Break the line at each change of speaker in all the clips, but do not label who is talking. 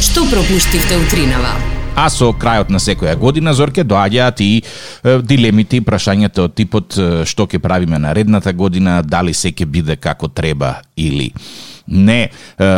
што пропуштивте утринава.
А со крајот на секоја година, Зорке, доаѓаат и е, дилемите и прашањата од типот е, што ќе правиме наредната година, дали се ќе биде како треба или не е,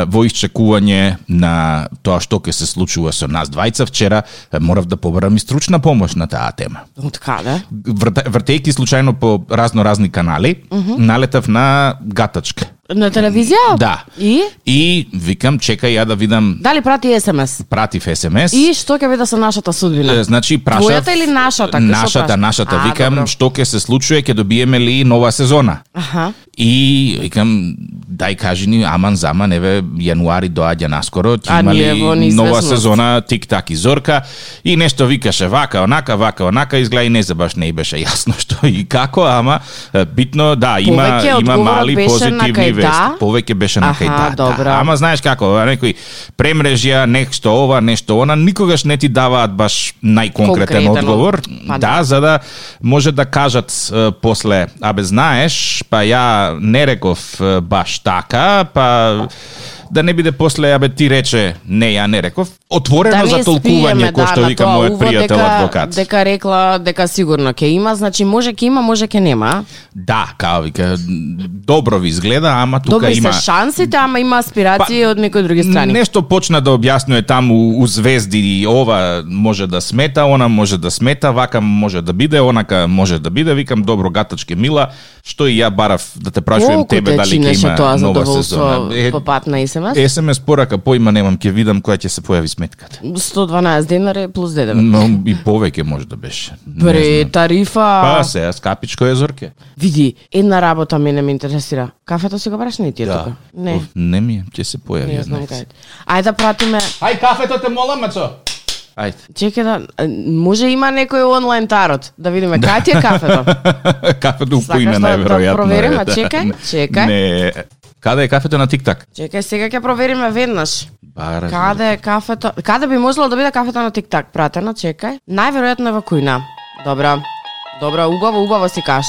во исчекување на тоа што ќе се случува со нас двајца вчера, е, морав да побарам и стручна помош на таа тема.
Од каде?
Врте- Вртејќи случајно по разно разни канали, налетав на гатачка.
На телевизија?
Да.
И?
И викам, чекај ја да видам
Дали прати СМС?
пратив СМС.
И што ќе биде со нашата судбина?
Е, Значи прашав
Твојата или нашата? Што
Нашата,
прашав?
нашата.
А,
викам
добро.
што ќе се случува, ќе добиеме ли нова сезона?
Аха.
И викам дај кажи ни аман заман еве јануари доаѓа наскоро, ќе
А
има
ние во
ли
неизвестност.
нова сезона тик так и зорка и нешто викаше вака, онака, вака, онака изгледа и не за баш не и беше јасно што и како, ама е, битно да има
Повеќе
има
одговорот
мали
беше на
позитивни
кај
вести.
да?
Повеќе беше на кај
Аха,
да, да.
добра.
Ама знаеш како, некои премрежја, нешто ова, нешто она, никогаш не ти даваат баш најконкретен
Конкретен
одговор.
па да.
да, за да може да кажат е, после, абе знаеш, па ја не реков е, баш така, па да не биде после, абе ти рече, не, ја не реков. Отворено
не
за толкување,
Да спиеме, да,
кој што
на
вика
тоа
мојот
увод
пријател адвокат.
Дека рекла дека сигурно ќе има, значи може ќе има, може ќе нема.
Да, као вика, добро ви изгледа, ама тука
Добри
има...
се шансите, ама има аспирации
Па,
од некои други страни.
Нешто почна да објаснува таму у звезди и ова може да смета, она може да смета, вака може да биде, онака може да биде. Викам добро гатачке мила, што и ја барав да те прашувам
Колку
тебе
те
дали ќе
чинеше
има
тоа
нова
задоволство
сезона. Е,
по пат на СМС?
СМС порака поима немам, ќе видам која ќе се појави сметката.
112 денари плюс ДДВ.
Но и повеќе може да беше. Не
Пре
знам.
тарифа.
Па се, скапичко е зорке.
Види, една работа мене ме интересира. Кафето си го бараш не
Да.
ти е тука? Не.
Уф, Не ми е, ќе се појави.
Не
ја
ја знам
знаеш.
кај. Ајде да пратиме.
Ај кафето те молам, мацо. Ајде.
Чекај да е, може има некој онлайн тарот да видиме кај ти е кафето.
кафето у
Сакаш
поиме
да- да
најверојатно.
провериме?
е, да.
Чекај, чекај.
Не. Каде е кафето на Тиктак?
Чекај сега ќе провериме веднаш.
Бара.
Каде е кафето? Каде би можело да биде кафето на Тиктак? Пратено, чекај. Најверојатно е во кујна. Добра. Добра, убаво, убаво си каш.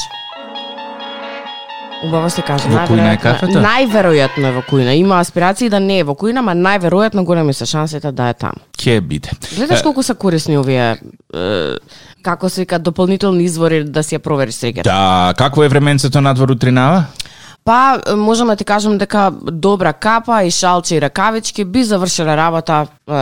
Убаво се каже.
Во кујна е
најверојатно-
кафето?
Најверојатно е во кујна. Има аспирации да не е во кујна, ма најверојатно големи се шансите да е таму.
Ке биде.
Гледаш колку се корисни овие е, како се вика дополнителни извори да си ја провериш среќата.
Да, какво е временцето надвор утринава?
Па е, можам да ти кажам дека добра капа и шалче и ракавички би завршиле работа е,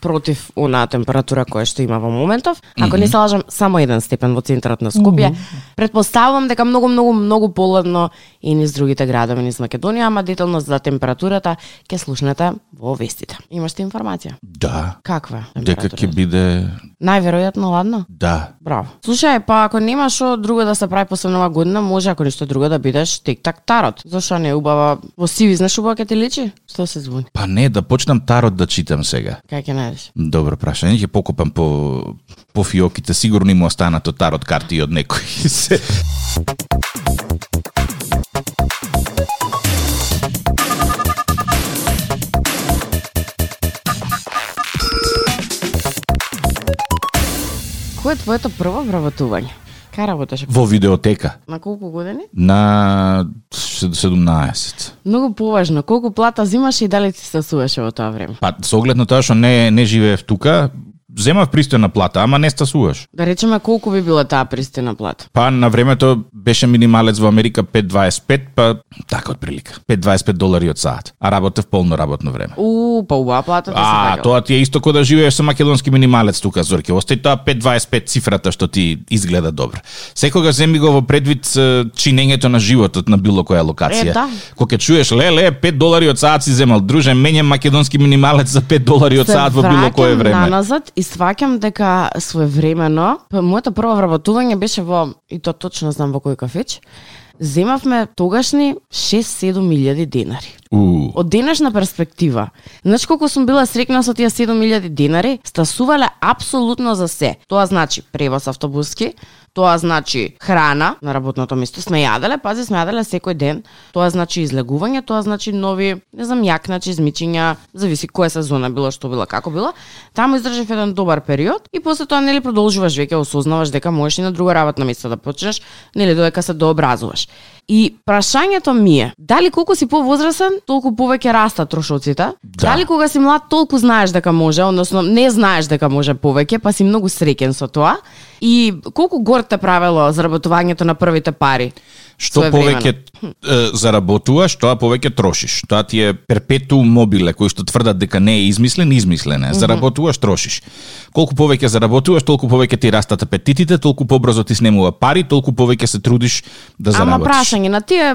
против онаа температура која што има во моментов. Ако не се лажам, само еден степен во центарот на Скопје. Предпоставувам дека многу многу многу поладно и низ другите градови низ Македонија, ама детално за температурата ќе слушнете во вестите. Имаш ти информација?
Да.
Каква? е
Дека
температурата?
ќе биде...
Најверојатно ладно.
Да.
Браво. Слушај, па ако нема што друго да се прави после нова година, може ако ништо друго да бидеш тик-так тарот. Зошто не е убава? Во сиви знаеш убава ќе ти личи? Што се звуни?
Па не, да почнам тарот да читам сега.
Кај ќе најдеш?
Добро прашање, ќе покопам по, по фиоките, сигурно има останато тарот карти од некој. Се-
Кој е твоето прво вработување? Кај работеше?
Во видеотека
На колку години?
на 17.
Многу поважно, колку плата зимаше и дали ти се суваше во тоа време?
Па, со оглед на тоа што не, не живеев тука, земав пристојна плата, ама не стасуваш.
Да речеме колку би била таа пристина плата?
Па на времето беше минималец во Америка 5.25, па така отприлика. 5.25 долари од саат, а работев полно работно време.
У, па убава плата ти се
А,
тагала.
тоа ти е исто кој да живееш со македонски минималец тука, Зорке. Остај тоа 5.25 цифрата што ти изгледа добро. Секогаш земи го во предвид е, чинењето на животот на било која локација.
Е, да.
Кога ќе чуеш, леле, 5 долари од саат си земал, друже, мене македонски минималец за 5 долари од
се
саат во било кое
враќам
време.
Наназад и сваќам дека своевремено, па, моето прво вработување беше во и то точно знам во кој кафеч. Земавме тогашни 6-7 илјади денари.
У.
Од денешна перспектива, знаеш колку сум била срекна со тие 7 илјади денари, стасувале апсолутно за се. Тоа значи превоз автобуски, тоа значи храна на работното место, сме јаделе, пази, сме јаделе секој ден. Тоа значи излегување, тоа значи нови, не знам, јакначи, значи измичиња, зависи која сезона било, што било, како било. Таму издржав еден добар период и после тоа нели продолжуваш веќе осознаваш дека можеш и на друго работно место да почнеш, нели додека се дообразуваш. И прашањето ми е, дали колку си повозрасен, толку повеќе растат трошоците?
Да.
Дали кога си млад, толку знаеш дека може, односно не знаеш дека може повеќе, па си многу среќен со тоа? И колку гор те правело заработувањето на првите пари?
Што
своевремено?
повеќе е, заработуваш, тоа повеќе трошиш. Тоа ти е перпетуум мобиле, кој што тврдат дека не е измислен, измислен е. Заработуваш, трошиш. Колку повеќе заработуваш, толку повеќе ти растат апетитите, толку побрзо ти снемува пари, толку повеќе се трудиш да
Ама
заработиш.
прашање, на тие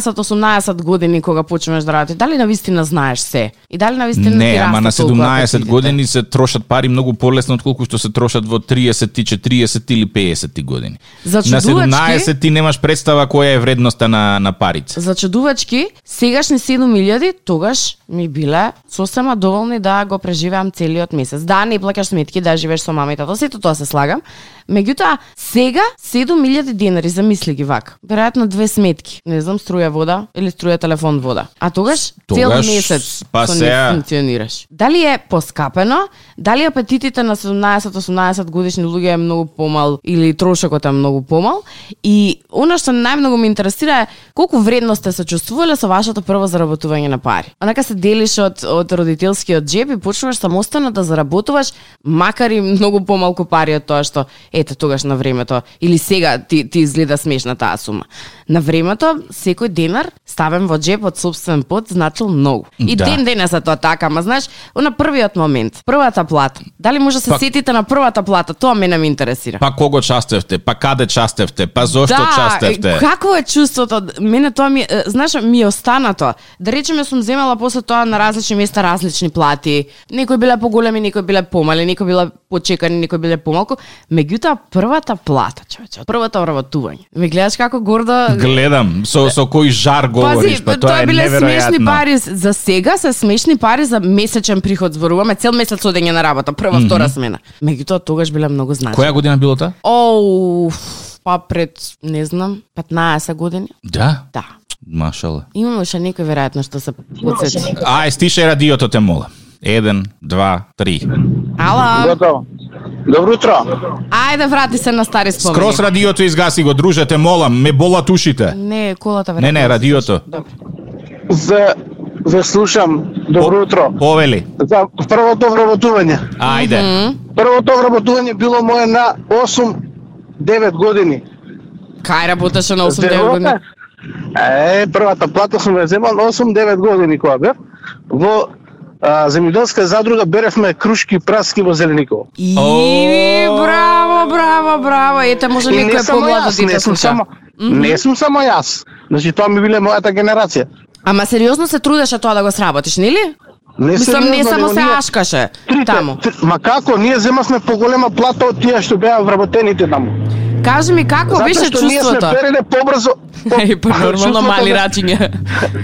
17-18 години кога почнеш да работиш, дали на вистина знаеш се? И дали на вистина ти
Не, ама на
растат толку
17
апетитите?
години се трошат пари многу полесно отколку што се трошат во 30, 40 или 50 години.
За
на
чудувачки-
17 ти немаш представа која е вредноста на на парите.
За чудувачки, сегашни 7000, тогаш ми биле сосема доволни да го преживеам целиот месец. Да, не плаќаш сметки, да живееш со мама и тато, сето тоа се слагам. Меѓутоа, сега 7000 денари, замисли ги вак. Веројатно две сметки. Не знам, струја вода или струја телефон вода. А тогаш,
Тогаш,
цел месец
па
со
сега-
не функционираш. Дали е поскапено? Дали апетитите на 17-18 годишни луѓе е многу помал или трошокот е многу помал? И она што најмногу ме интересира е колку вредно сте се чувствувале со вашето прво заработување на пари. Онака се делиш од од родителскиот џеб и почнуваш самостојно да заработуваш макар и многу помалку пари од тоа што ете тогаш на времето или сега ти ти изгледа смешна таа сума. На времето секој денар ставен во џеб од собствен пот значил многу. И
Да.
ден денес е тоа така, ама знаеш, на првиот момент, првата плата. Дали може да се
Па-
сетите на првата плата? Тоа мене ме интересира. Да,
Па кого частевте, па каде частевте, па зошто
е,
частевте.
какво е чувството? Мене тоа ми, е, знаеш, ми остана тоа. Да речеме сум земала после тоа на различни места различни плати. Некои биле поголеми, некои биле помали, некои биле почекани, некои биле помалку. Меѓутоа првата плата, човече, првото вработување. Ме гледаш како гордо
Гледам, со, со кој жар говориш, па тоа е
биле смешни
неверојатно.
пари за сега, се смешни пари за месечен приход зборуваме, цел месец одење на работа, прва, втора смена. Меѓутоа тогаш биле многу значи.
Која година било тоа?
Оу, па пред, не знам, 15 години.
Да,
Да.
машала.
Имаше некој веројатно што се подсети.
Ај, стише радиото те мола. Еден, два, три.
Ала,
Готово. Добро утро.
ајде врати се на стари спомени.
Скрос радиото изгаси го, друже, те молам, ме болат ушите.
Не, колата
Не, не, радиото.
Добре.
За ве слушам. Добро утро.
Повели.
За првото вработување.
Ајде.
Првото вработување било мое на 8 9 години.
Кај работеше на 8
Зверока,
години?
Е, првата плата сум ја земал на 8-9 години кога бев. Во а, земјоделска задруга беревме крушки и праски во Зелениково.
И,
О.
браво, браво, браво. Ете, може
И
некој да помладо дете
не сум
слуша.
само, не сум само јас. Значи тоа ми биле мојата генерација.
Ама сериозно се трудеше тоа да го сработиш, нели?
Не
Мислам, не
сериозно,
само
него
се
ние-
ашкаше
Трите,
таму.
три- Ма како, ние земавме поголема плата од тие што беа вработените таму.
Кажи ми како беше
што ние сме
чувството?
переле побрзо. по-
Е, па
чувството
нормално мали
на-
рачиња.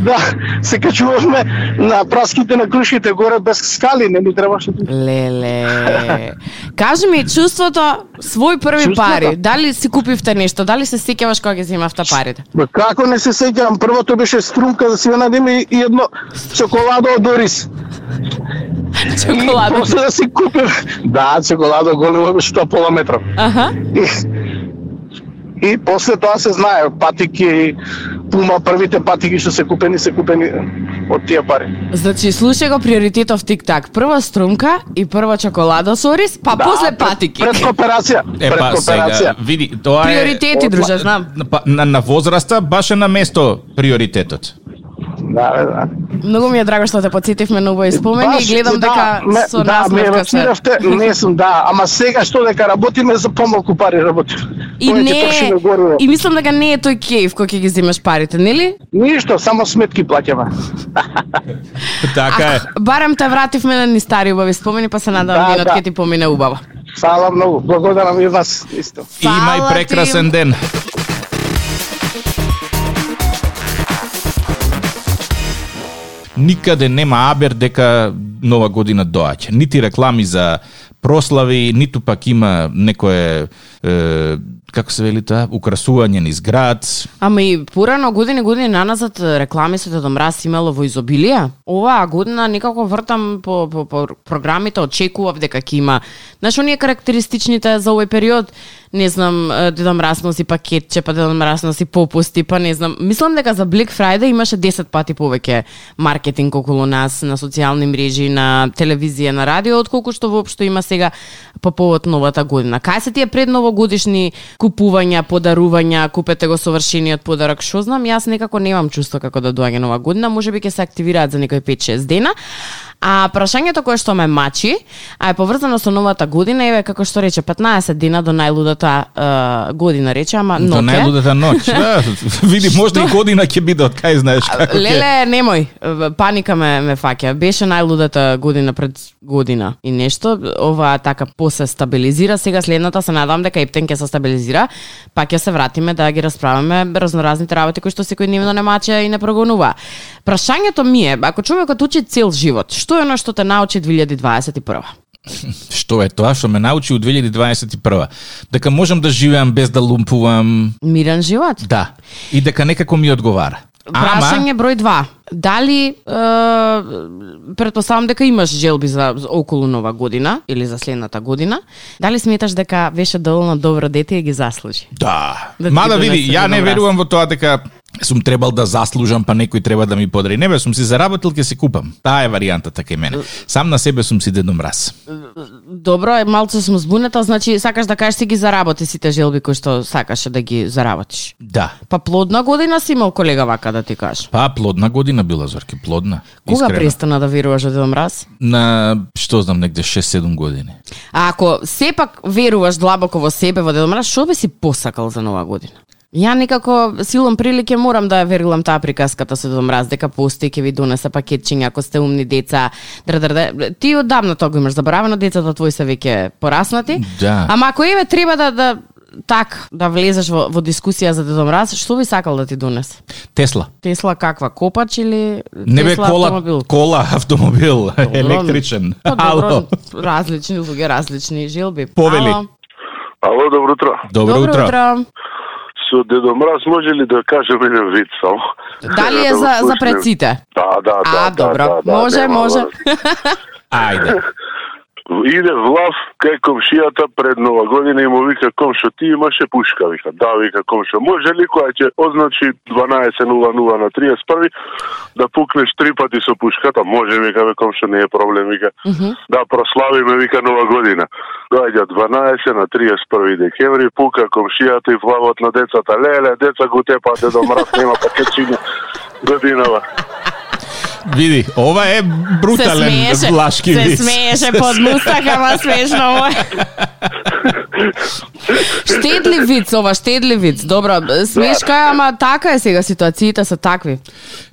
Да, се качувавме на праските на крушите горе без скали, не ни требаше. да-
Леле. Кажи ми чувството свој први
Чувството?
пари. Дали си купивте нешто? Дали се сеќаваш кога ги земавте парите?
Ма како не се сеќавам, првото беше струнка за си ја надиме и- и едно чоколадо од Орис. И
Чоколада.
после да си купив, да, чоколадо големо беше тоа пола метра.
Аха.
И, и после тоа се знае, патики, пума, првите патики што се купени, се купени од тие пари.
Значи, слушај го приоритетов тик-так. Прва струмка и прва чоколада со ориз, па после
пред-
патики.
Да, Пред кооперација.
Да, Е,
пред
па, сега,
кооперација.
види, тоа е...
Приоритети, друже, знам.
Па, На, на возраста баш е на место приоритетот.
Да, бе, да.
Многу ми е драго што те подсетивме на убави спомени и гледам дека
ме-
со
да, ме
насмевка се.
евацирав, не сум, да, ама сега што дека работиме за помалку пари работиме.
И
Повеќе
не,
трошиме гориво.
и мислам дека не е тој кејф кој ќе ги земеш парите, нели?
Ништо, само сметки плаќаме.
Така е.
Ах, барем те вративме на ни стари убави спомени, па се надевам
Да,
денот
да.
ќе ти помине убаво.
Фала многу, благодарам и вас исто.
Имај
Фала ти.
прекрасен ден. Никаде нема абер дека нова година доаѓа. Нити реклами за прослави, ниту пак има некое е, како се вели тоа, украсување низ град.
Ама и порано години години наназад реклами со Дедо Мраз имало во изобилие. Оваа година некако вртам по, по, по програмите, очекував дека ќе има. Знаеш, оние карактеристичните за овој период, не знам, е, Дедо Мраз носи пакетче, па Дедо Мраз носи попусти, па не знам. Мислам дека за Black Friday имаше 10 пати повеќе маркетинг околу нас на социјални мрежи, на телевизија, на радио, отколку што воопшто има сега по повод новата година. Кај се тие предновогодишни купувања, подарувања, купете го совршениот подарок, што знам, јас некако немам чувство како да доаѓа нова година, можеби ќе се активираат за некои 5-6 дена. А прашањето кое што ме мачи, а е поврзано со новата година, еве како што рече 15 дена до најлудата е, година рече, ама
До
ноќе.
најлудата ноќ. Да, види, можда и година ќе биде, од кај знаеш како ќе.
Леле, немој, паника ме, ме фаќа. Беше најлудата година пред година и нешто, ова така после стабилизира, сега следната се надам дека Ептен ќе се стабилизира, па ќе се вратиме да ги расправаме разноразните работи кои што секојдневно не мача и не прогонува. Прашањето ми е, ако човекот учи цел живот, што е оно што те научи 2021?
Што е тоа што ме научи у 2021? Дека можам да живеам без да лумпувам,
Мирен живот?
да, и дека некако ми одговара.
Прашање број 2. Дали е, предпоставам дека имаш желби за за околу нова година или за следната година, дали сметаш дека беше доволно добро дете и ги заслужи?
Да.
Да ти
Мада
донесе
види, ја не
еден
верувам во тоа дека сум требал да заслужам, па некој треба да ми подари. Не бе, сум си заработил, ќе си купам. Таа е варијантата кај мене. Сам на себе сум си дедо мраз.
Добро, е малце сум збунета, значи сакаш да кажеш си ги заработи сите желби кои што сакаше да ги заработиш.
Да.
Па плодна година си имал колега вака да ти кажам.
Па, плодна година била, Зорке, плодна.
Кога
Искрено.
престана да веруваш во Дедо Мраз?
На, што знам, негде 6-7 години.
А ако сепак веруваш длабоко во себе, во Дедо Мраз, што би си посакал за нова година? Ја некако силом прилике морам да ја верилам таа приказката со Дедо Мраз дека постои ќе ви донесе пакетчиња ако сте умни деца. Др, др, др. Ти оддавна тоа го имаш заборавено, децата твои се веќе пораснати.
Да.
Ама ако еве треба да да так да влезеш во, во дискусија за Дедо Мраз, што би сакал да ти донесе?
Тесла.
Тесла каква копач или
Не бе
Тесла
кола,
автомобил?
кола, автомобил, електричен.
Па
Ало.
добро, различни луѓе, различни желби.
Повели.
Ало.
Ало, добро утро.
Добро, утро.
Со Дедо Мраз може ли да кажем еден вид само?
Дали е
Да го
за за
слушнем.
преците?
Да, да, да.
А,
да,
добро.
да, да,
Може,
нема
може.
врз.
Ајде.
Иде влав кај комшијата пред Нова година и му вика комшо ти имаше пушка, вика. Да, вика комшо. Може ли која ќе означи 12.00 на 31 да пукнеш три пати со пушката? Може, вика, бе, комшо, не е проблем, вика. Да прославиме, вика, Нова година. Доаѓа 12 на 31 декември, пука комшијата и влавот на децата. Леле, деца го тепа, дедо мраз нема пакетчиња годинава.
Види, ова е
Се
брутален
смееше.
влашки
Се
вис.
смееше под мустак, ама смешно му е. Штедлив виц, ова штедлив виц. Добро,
Да.
смешка е, ама така е сега ситуациите се такви.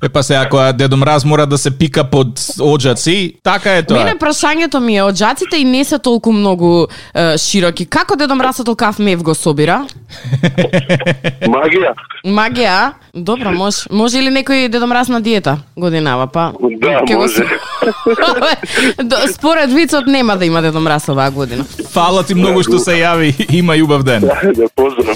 Е па се, ако Дедо Мраз мора да се пика под оджаци, така е тоа.
Мене прашањето ми е, оджаците и не се толку многу е, широки. Како Дедо Мраз со толкав мев го собира?
Магија.
Магија, а? добро, може. Може или некој Дедо Мраз на диета годинава, па?
Да,
ќе го
може.
со- До- Според вицот нема да има Дедо Мраз оваа година.
Фала ти многу што се јави. Има јубав ден.
Ајде, поздрав.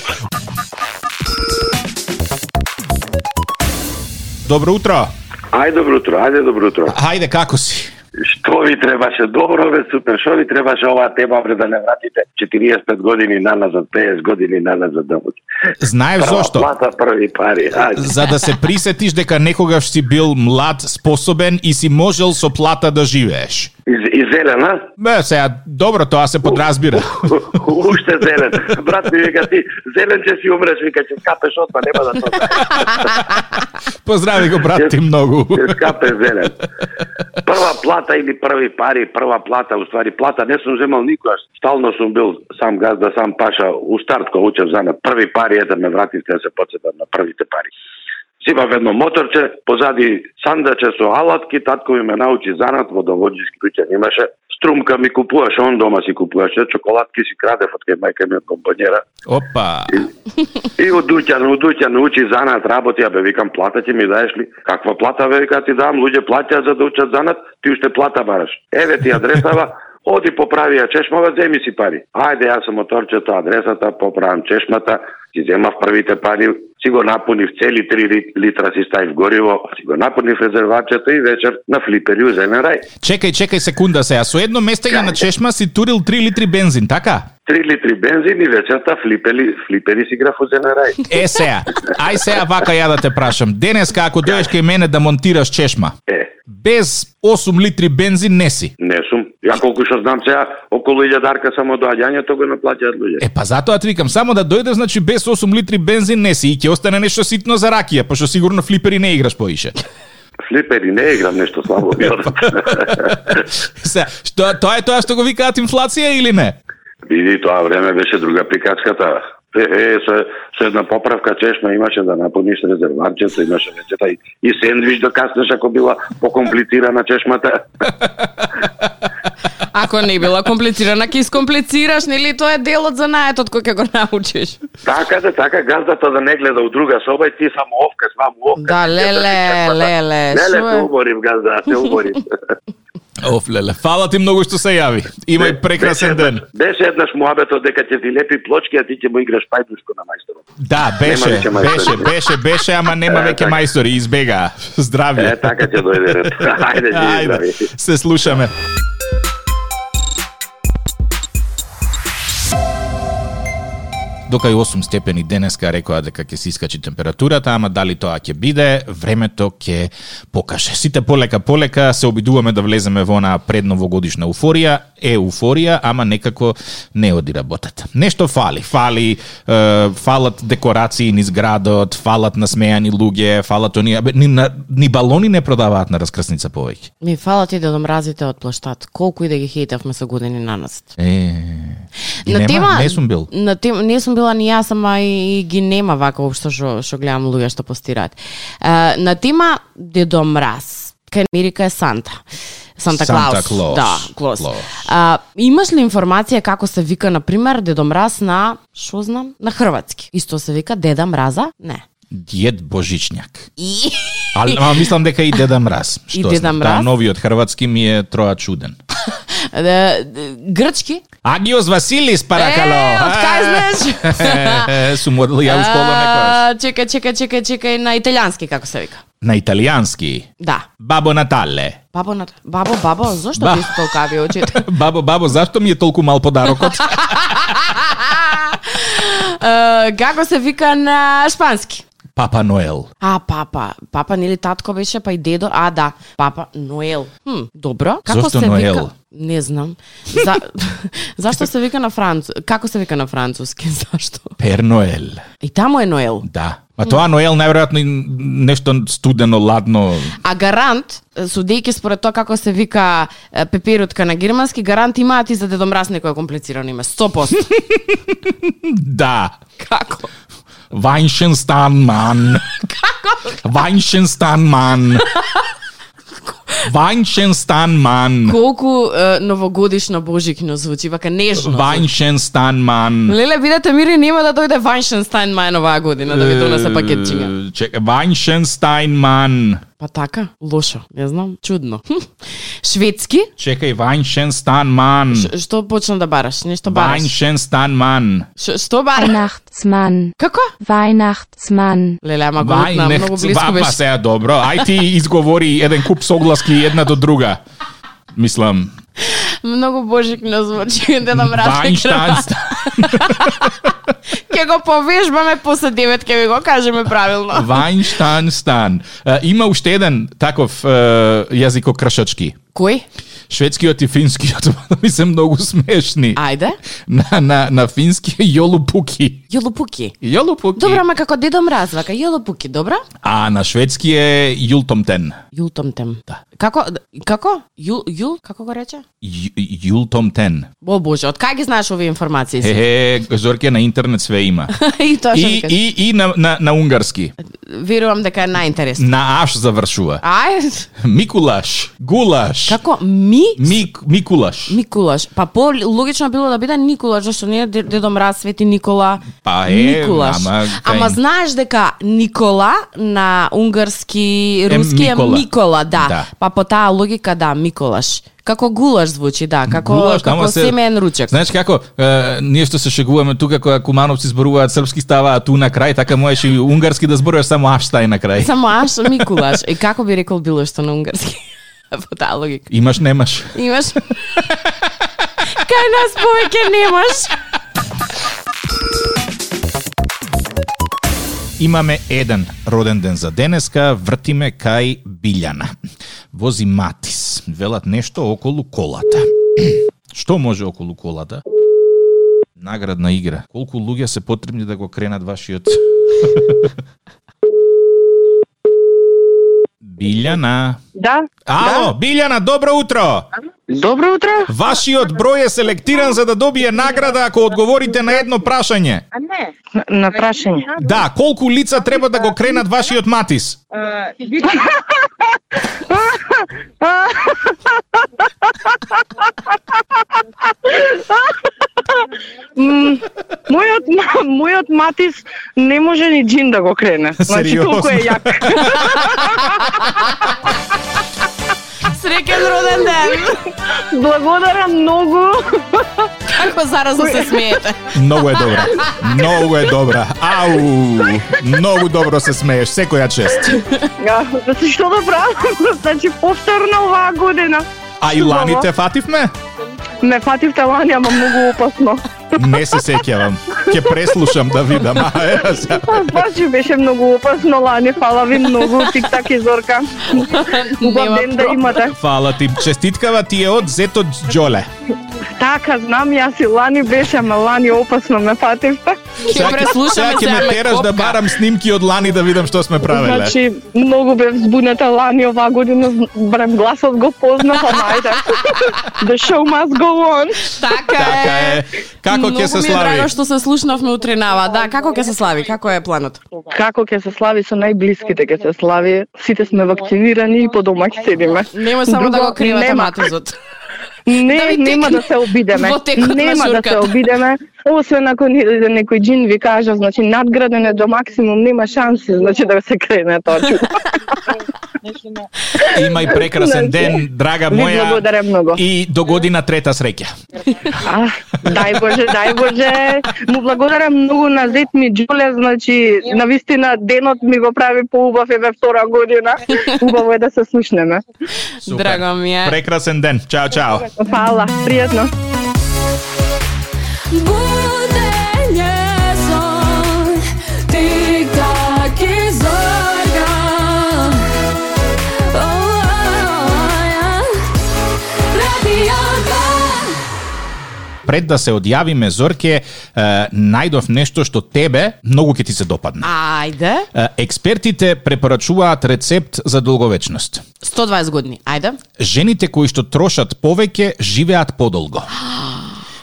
Добро утро.
Ај добро утро, ајде добро утро.
Ајде, како си?
Што ви требаше? Добро бе, супер. Што ви требаше оваа тема пред да не вратите 45 години наназад, 50 години наназад да буде.
Знаеш
Прва
зошто?
Плата, први пари. Ајде.
За да се присетиш дека некогаш си бил млад, способен и си можел со плата да живееш.
И, и зелен, а?
Бе, сега, добро, тоа се подразбира.
У- Уште зелен. Брат ми вика ти, зелен ќе си умреш, вика ќе скапеш одма, нема да тоа.
Поздрави го, брат, ти многу.
Ќе скапеш зелен. Прва плата или први пари, прва плата, уствари плата, не сум земал никогаш. Стално сум бил сам газда, сам паша, у старт кога учев занат. Први пари е да ме вратите да се подсетам на првите пари. Сипав едно моторче, позади сандаче со алатки, татко ми ме научи занат во доводжички дуќан имаше. Струмка ми купуваше, он дома си купуваше, чоколадки си крадев од кај мајка ми од компонера.
Опа.
И од дуќан, од дуќан учи занат, работи, а бе викам плата ќе ми даеш ли? Каква плата бе вика ти дам, луѓе платеа за да учат занат, ти уште плата бараш. Еве ти адресава, Оди поправија чешмава, земи си пари. Ајде, јас сам моторчето, адресата, поправам чешмата, си земав првите пари, си го напунив цели 3 литра си ставив гориво, си го напунив резервачето и вечер на флипери у зелен рај.
Чекај, чекај секунда сега. Со едно местење на чешма си турил 3 литри бензин, така?
3 литри бензин и вечерта флипери, флипери си граф у зелен рај.
Е сега, ај сега вака ја да те прашам. Денеска ако дојдеш кај мене да монтираш чешма,
Е,
без 8 литри бензин не си.
не сум. Ја колку што знам сега, околу 1000 дарка само доаѓањето го наплаќаат луѓе.
Е па затоа ти викам, само да дојдеш значи без 8 литри бензин не си и ќе остане нешто ситно за ракија, пошто сигурно флипери не играш поише.
Флипери не играм нешто слабо ми одат.
Се, што тоа е тоа што го викаат инфлација или не?
Види, тоа време беше друга приказката. Е, е, со, со една поправка чешма имаше да напуниш резерварчето, имаше рецета и, и сендвич да каснеш ако била покомплицирана чешмата.
Ако не била комплицирана, ќе искомплицираш, нели тоа е делот за наетот кој ќе го научиш.
Така да, така, газдата да не гледа у друга соба и ти само овка, само овка.
Да, леле, леле,
Леле,
шо
се
е?
уборив газда, се уборив.
Оф, леле, фала ти многу што се јави. Имај прекрасен ден.
Беше еднаш муабето дека ќе ти лепи плочки, а ти ќе му играш пајдушко на мајсторот.
Да, беше,
Нема веќе мајстори. така.
беше, беше, беше, ама нема веќе мајстори, избега.
Е,
Здравје.
така ќе дојде ред. Ајде, живи, здрави.
Ајде, се слушаме. Дока и 8 степени денеска рекоа дека ќе се искачи температурата, ама дали тоа ќе биде, времето ќе покаже. Сите полека полека се обидуваме да влеземе во онаа предновогодишна уфорија, е уфорија, ама некако не оди работата. Нешто фали, фали, е, фалат декорации низ градот, фалат насмејани луѓе, фалат оние, абе, ни, на, ни балони не продаваат на раскрсница повеќе.
Ми фала ти да мразите од плаштат. Колку и да ги хейтавме со години на нас.
Е, ги нема, не сум бил.
На тема, не сум била ни јас, ама и, и ги нема вака општо што што гледам луѓе што постираат. Е, на тема Дедо Мраз. Кај Америка е Санта. Санта Клаус.
Санта Клаус.
Да, Клаус.
Клаус.
А, имаш ли информација како се вика, на пример, Дедо Мраз на, шо знам, на хрватски? Исто се вика Деда Мраза? Не.
Дед Божичњак.
И...
Али, ама мислам дека и Деда Мраз.
И Деда
знам,
Мраз?
Та, новиот хрватски ми е троа чуден.
Е, да, Грчки?
Агиос Василис, паракало!
Е, од кај знаеш?
Е, Сум одел ја у школа некојаш.
А, Чекај, чекај, чекај, чекај, на италијански како се вика?
На италијански.
Да.
Бабо Натале.
Бабо, на... бабо, бабо, зошто
Ба-
ти се толкави очите?
Бабо, бабо, зашто ми е толку мал подарокот?
Е, Како се вика на шпански?
Папа Ноел.
А, папа, папа нели татко беше, па и дедо, а да, папа Ноел. Хм, добро. Како
Зошто
се
Ноел?
вика? Не знам. За... Зашто се вика на франц? Како се вика на француски? Зашто?
Пер Ноел.
И таму е Ноел.
Да. Па тоа Ноел најверојатно и нешто студено, ладно.
А гарант, судејќи според тоа како се вика е, пеперутка на германски, гарант имаат и за Дедо Мраз некој комплицирано име. 100%.
Да.
како?
Вајншенстан ман. Вајншенстан ман. Вајншенстан ман.
Колку е, новогодишно божикно звучи, вака нежно.
Вајншенстан ман.
Леле, бидете мири, нема да дојде Ваншенстайн мајн оваа година да ви донесе пакетчиња.
Eh, Вајншенстайн ман.
Па така, лошо, не знам, чудно. Хм. Шведски?
Чекај, Вајншенстан ман.
Ш- Што почна да бараш? Нешто бараш?
Вајншенстан ман.
Ш- Што бараш?
Weihnachtsmann,
Како?
Weihnachtsmann.
Леле, ама го лутна, многу близко
Вајнехцвапа
беше.
се добро. Ај ти изговори еден куп согласки една до друга. Мислам,
Многу божик не звучи, да нам
Вајнштан.
рачи. Ке го повежбаме после 9 ке ви го кажеме правилно.
Вајнштанстан. Е, Има уште еден таков е, eh, јазикокрашачки.
Кој?
Шведскиот и финскиот да ми се многу смешни.
Ајде.
На, на, на фински е јолупуки.
Јолопуки.
Јолупуки.
Добро, ама како дедом развака, јолопуки, добро?
А на шведски е јултомтен.
Јултомтем. Да. Како како? Јул јул како го рече?
Ју- Јултомтен.
О боже, од кај ги знаеш овие информации? си?
Е, Зорке, на интернет све има.
и тоа што
И,
ми кажа.
и, и на, на, на унгарски.
Верувам дека е најинтересно.
На аш завршува.
Ај,
Микулаш. Гулаш.
како ми
Мик, Микулаш.
Микулаш. Па по логично било да биде Николаш, зашто не е Дед- Дедо Мраз, Свети Никола.
Па е,
Николаш.
ама, кај-
ама знаеш дека Никола на унгарски, руски е
Микола.
Микола, да.
Да.
Па Па по таа логика, да, Миколаш. Како гулаш звучи, да, како,
Гулаш, ама
како
се-
семеен ручек.
Знаеш како, е, ние што се шегуваме тука кога кумановци зборуваат српски ставаат ту на крај, така можеш и унгарски да зборуваш само аштај на крај.
Само аш Микулаш. И како би рекол било што на унгарски? по таа логика.
Имаш, немаш.
Имаш? Кај нас повеќе немаш.
Имаме еден роден ден за денеска, вртиме кај Билјана. Вози Матис, велат нешто околу колата. Што може околу колата? Наградна игра. Колку луѓе се потребни да го кренат вашиот... Билјана.
Да,
Ало, Билјана, добро утро!
добро утро.
Вашиот број е селектиран за да добие награда ако одговорите на едно прашање.
На, на прашање.
Да, колку лица треба да го кренат вашиот Матис?
М, мојот, ма- мојот Матис не може ни джин да го крене. Значи толку е
Сериозно?
јак.
Среќен роден ден.
Благодарам многу.
Како заразно се смеете.
Многу е добра. Многу е добра. Ау! Многу добро се смееш, секоја чест.
Да, значи што да правам? Значи повторно оваа година.
А и лани те фативме?
Ме фативте лани, ама многу опасно.
Не се сеќавам. Ќе преслушам да видам. А, е, сега.
Па, Баш беше многу опасно лани, фала ви многу, тик-так и зорка. Убав ден да имате.
Фала ти. Честиткава ти е од Зето Джоле.
Така, знам, јас и лани беше, ама лани опасно ме фативте.
Ќе преслушаме
ќе
се.
ме
ама
тераш да
копка.
барам снимки од лани да видам што сме правеле.
Значи, многу бев збуната лани оваа година, з- барем гласот го познав, ама ајде. The show must go on.
Така
Така е.
е.
Како ќе се
Многу ми е
слави?
драго што се слушнавме утренава. Да, како ќе се слави? Како е планот?
Како ќе се слави со најблиските ќе се слави. Сите сме вакцинирани и по дома ќе седиме.
Немој само да
Друго,
го кривате
нема.
матизот.
Не,
Да ви
нема
текне
да се обидеме.
во текот на
нема да се
журката.
обидеме. Освен ако ни- некој джин ви кажа, значи надграден е до максимум, нема шанси, значи да се крене тоа. чудо.
Имај
Значи,
прекрасен ден, драга
Ви
моја.
благодарам многу.
И до година трета среќа.
А, дај Боже, дај Боже. Му благодарам многу на зет ми Джуле, значи, на вистина денот ми го прави поубав еве втора година. Убаво е да се слушнеме.
Супер.
Драго ми е.
Прекрасен ден. Чао, чао.
Фала, пријатно.
Bude njezon Tik tak i zorga Radio Glas
Пред да се одјавиме Зорке, е, најдов нешто што тебе многу ќе ти се допадне.
Ајде.
Е, Експертите препорачуваат рецепт за долговечност.
120 години. Ајде.
Жените кои што трошат повеќе живеат подолго.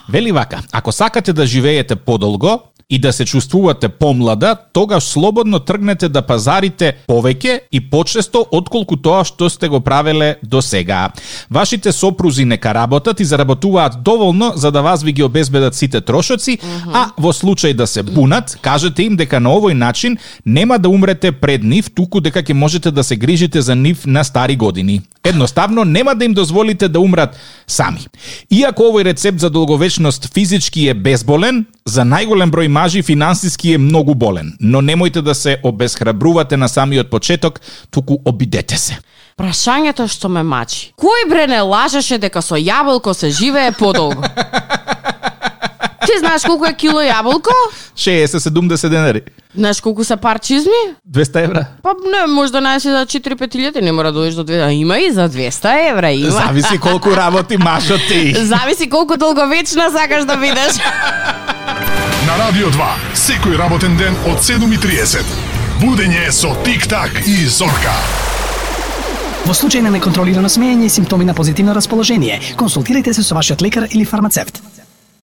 Вели вака, ако сакате да живеете подолго и да се чувствувате помлада, тогаш слободно тргнете да пазарите повеќе и почесто отколку тоа што сте го правеле до сега. Вашите сопрузи нека работат и заработуваат доволно за да вас ви ги обезбедат сите трошоци, а во случај да се бунат, кажете им дека на овој начин нема да умрете пред нив, туку дека ќе можете да се грижите за нив на стари години. Едноставно нема да им дозволите да умрат сами. Иако овој рецепт за долговечност физички е безболен, за најголем број мажи финансиски е многу болен, но немојте да се обесхрабрувате на самиот почеток, туку обидете се.
Прашањето што ме мачи. Кој бре не лажеше дека со јаболко се живее подолго? Ти знаеш колку е кило јаболко?
60-70 денари.
Знаеш колку се парчизми?
200 евра.
Па не, може да најси за 4-5 илјади, не мора да дојдеш до 2. Има и за 200 евра, има.
Зависи колку работи машот ти.
Зависи колку долговечна сакаш да бидеш.
На Радио 2, секој работен ден од 7.30. Будење со Тик-так и Зорка.
Во случај на неконтролирано смеење и симптоми на позитивно расположение, консултирайте се со вашиот лекар или фармацевт.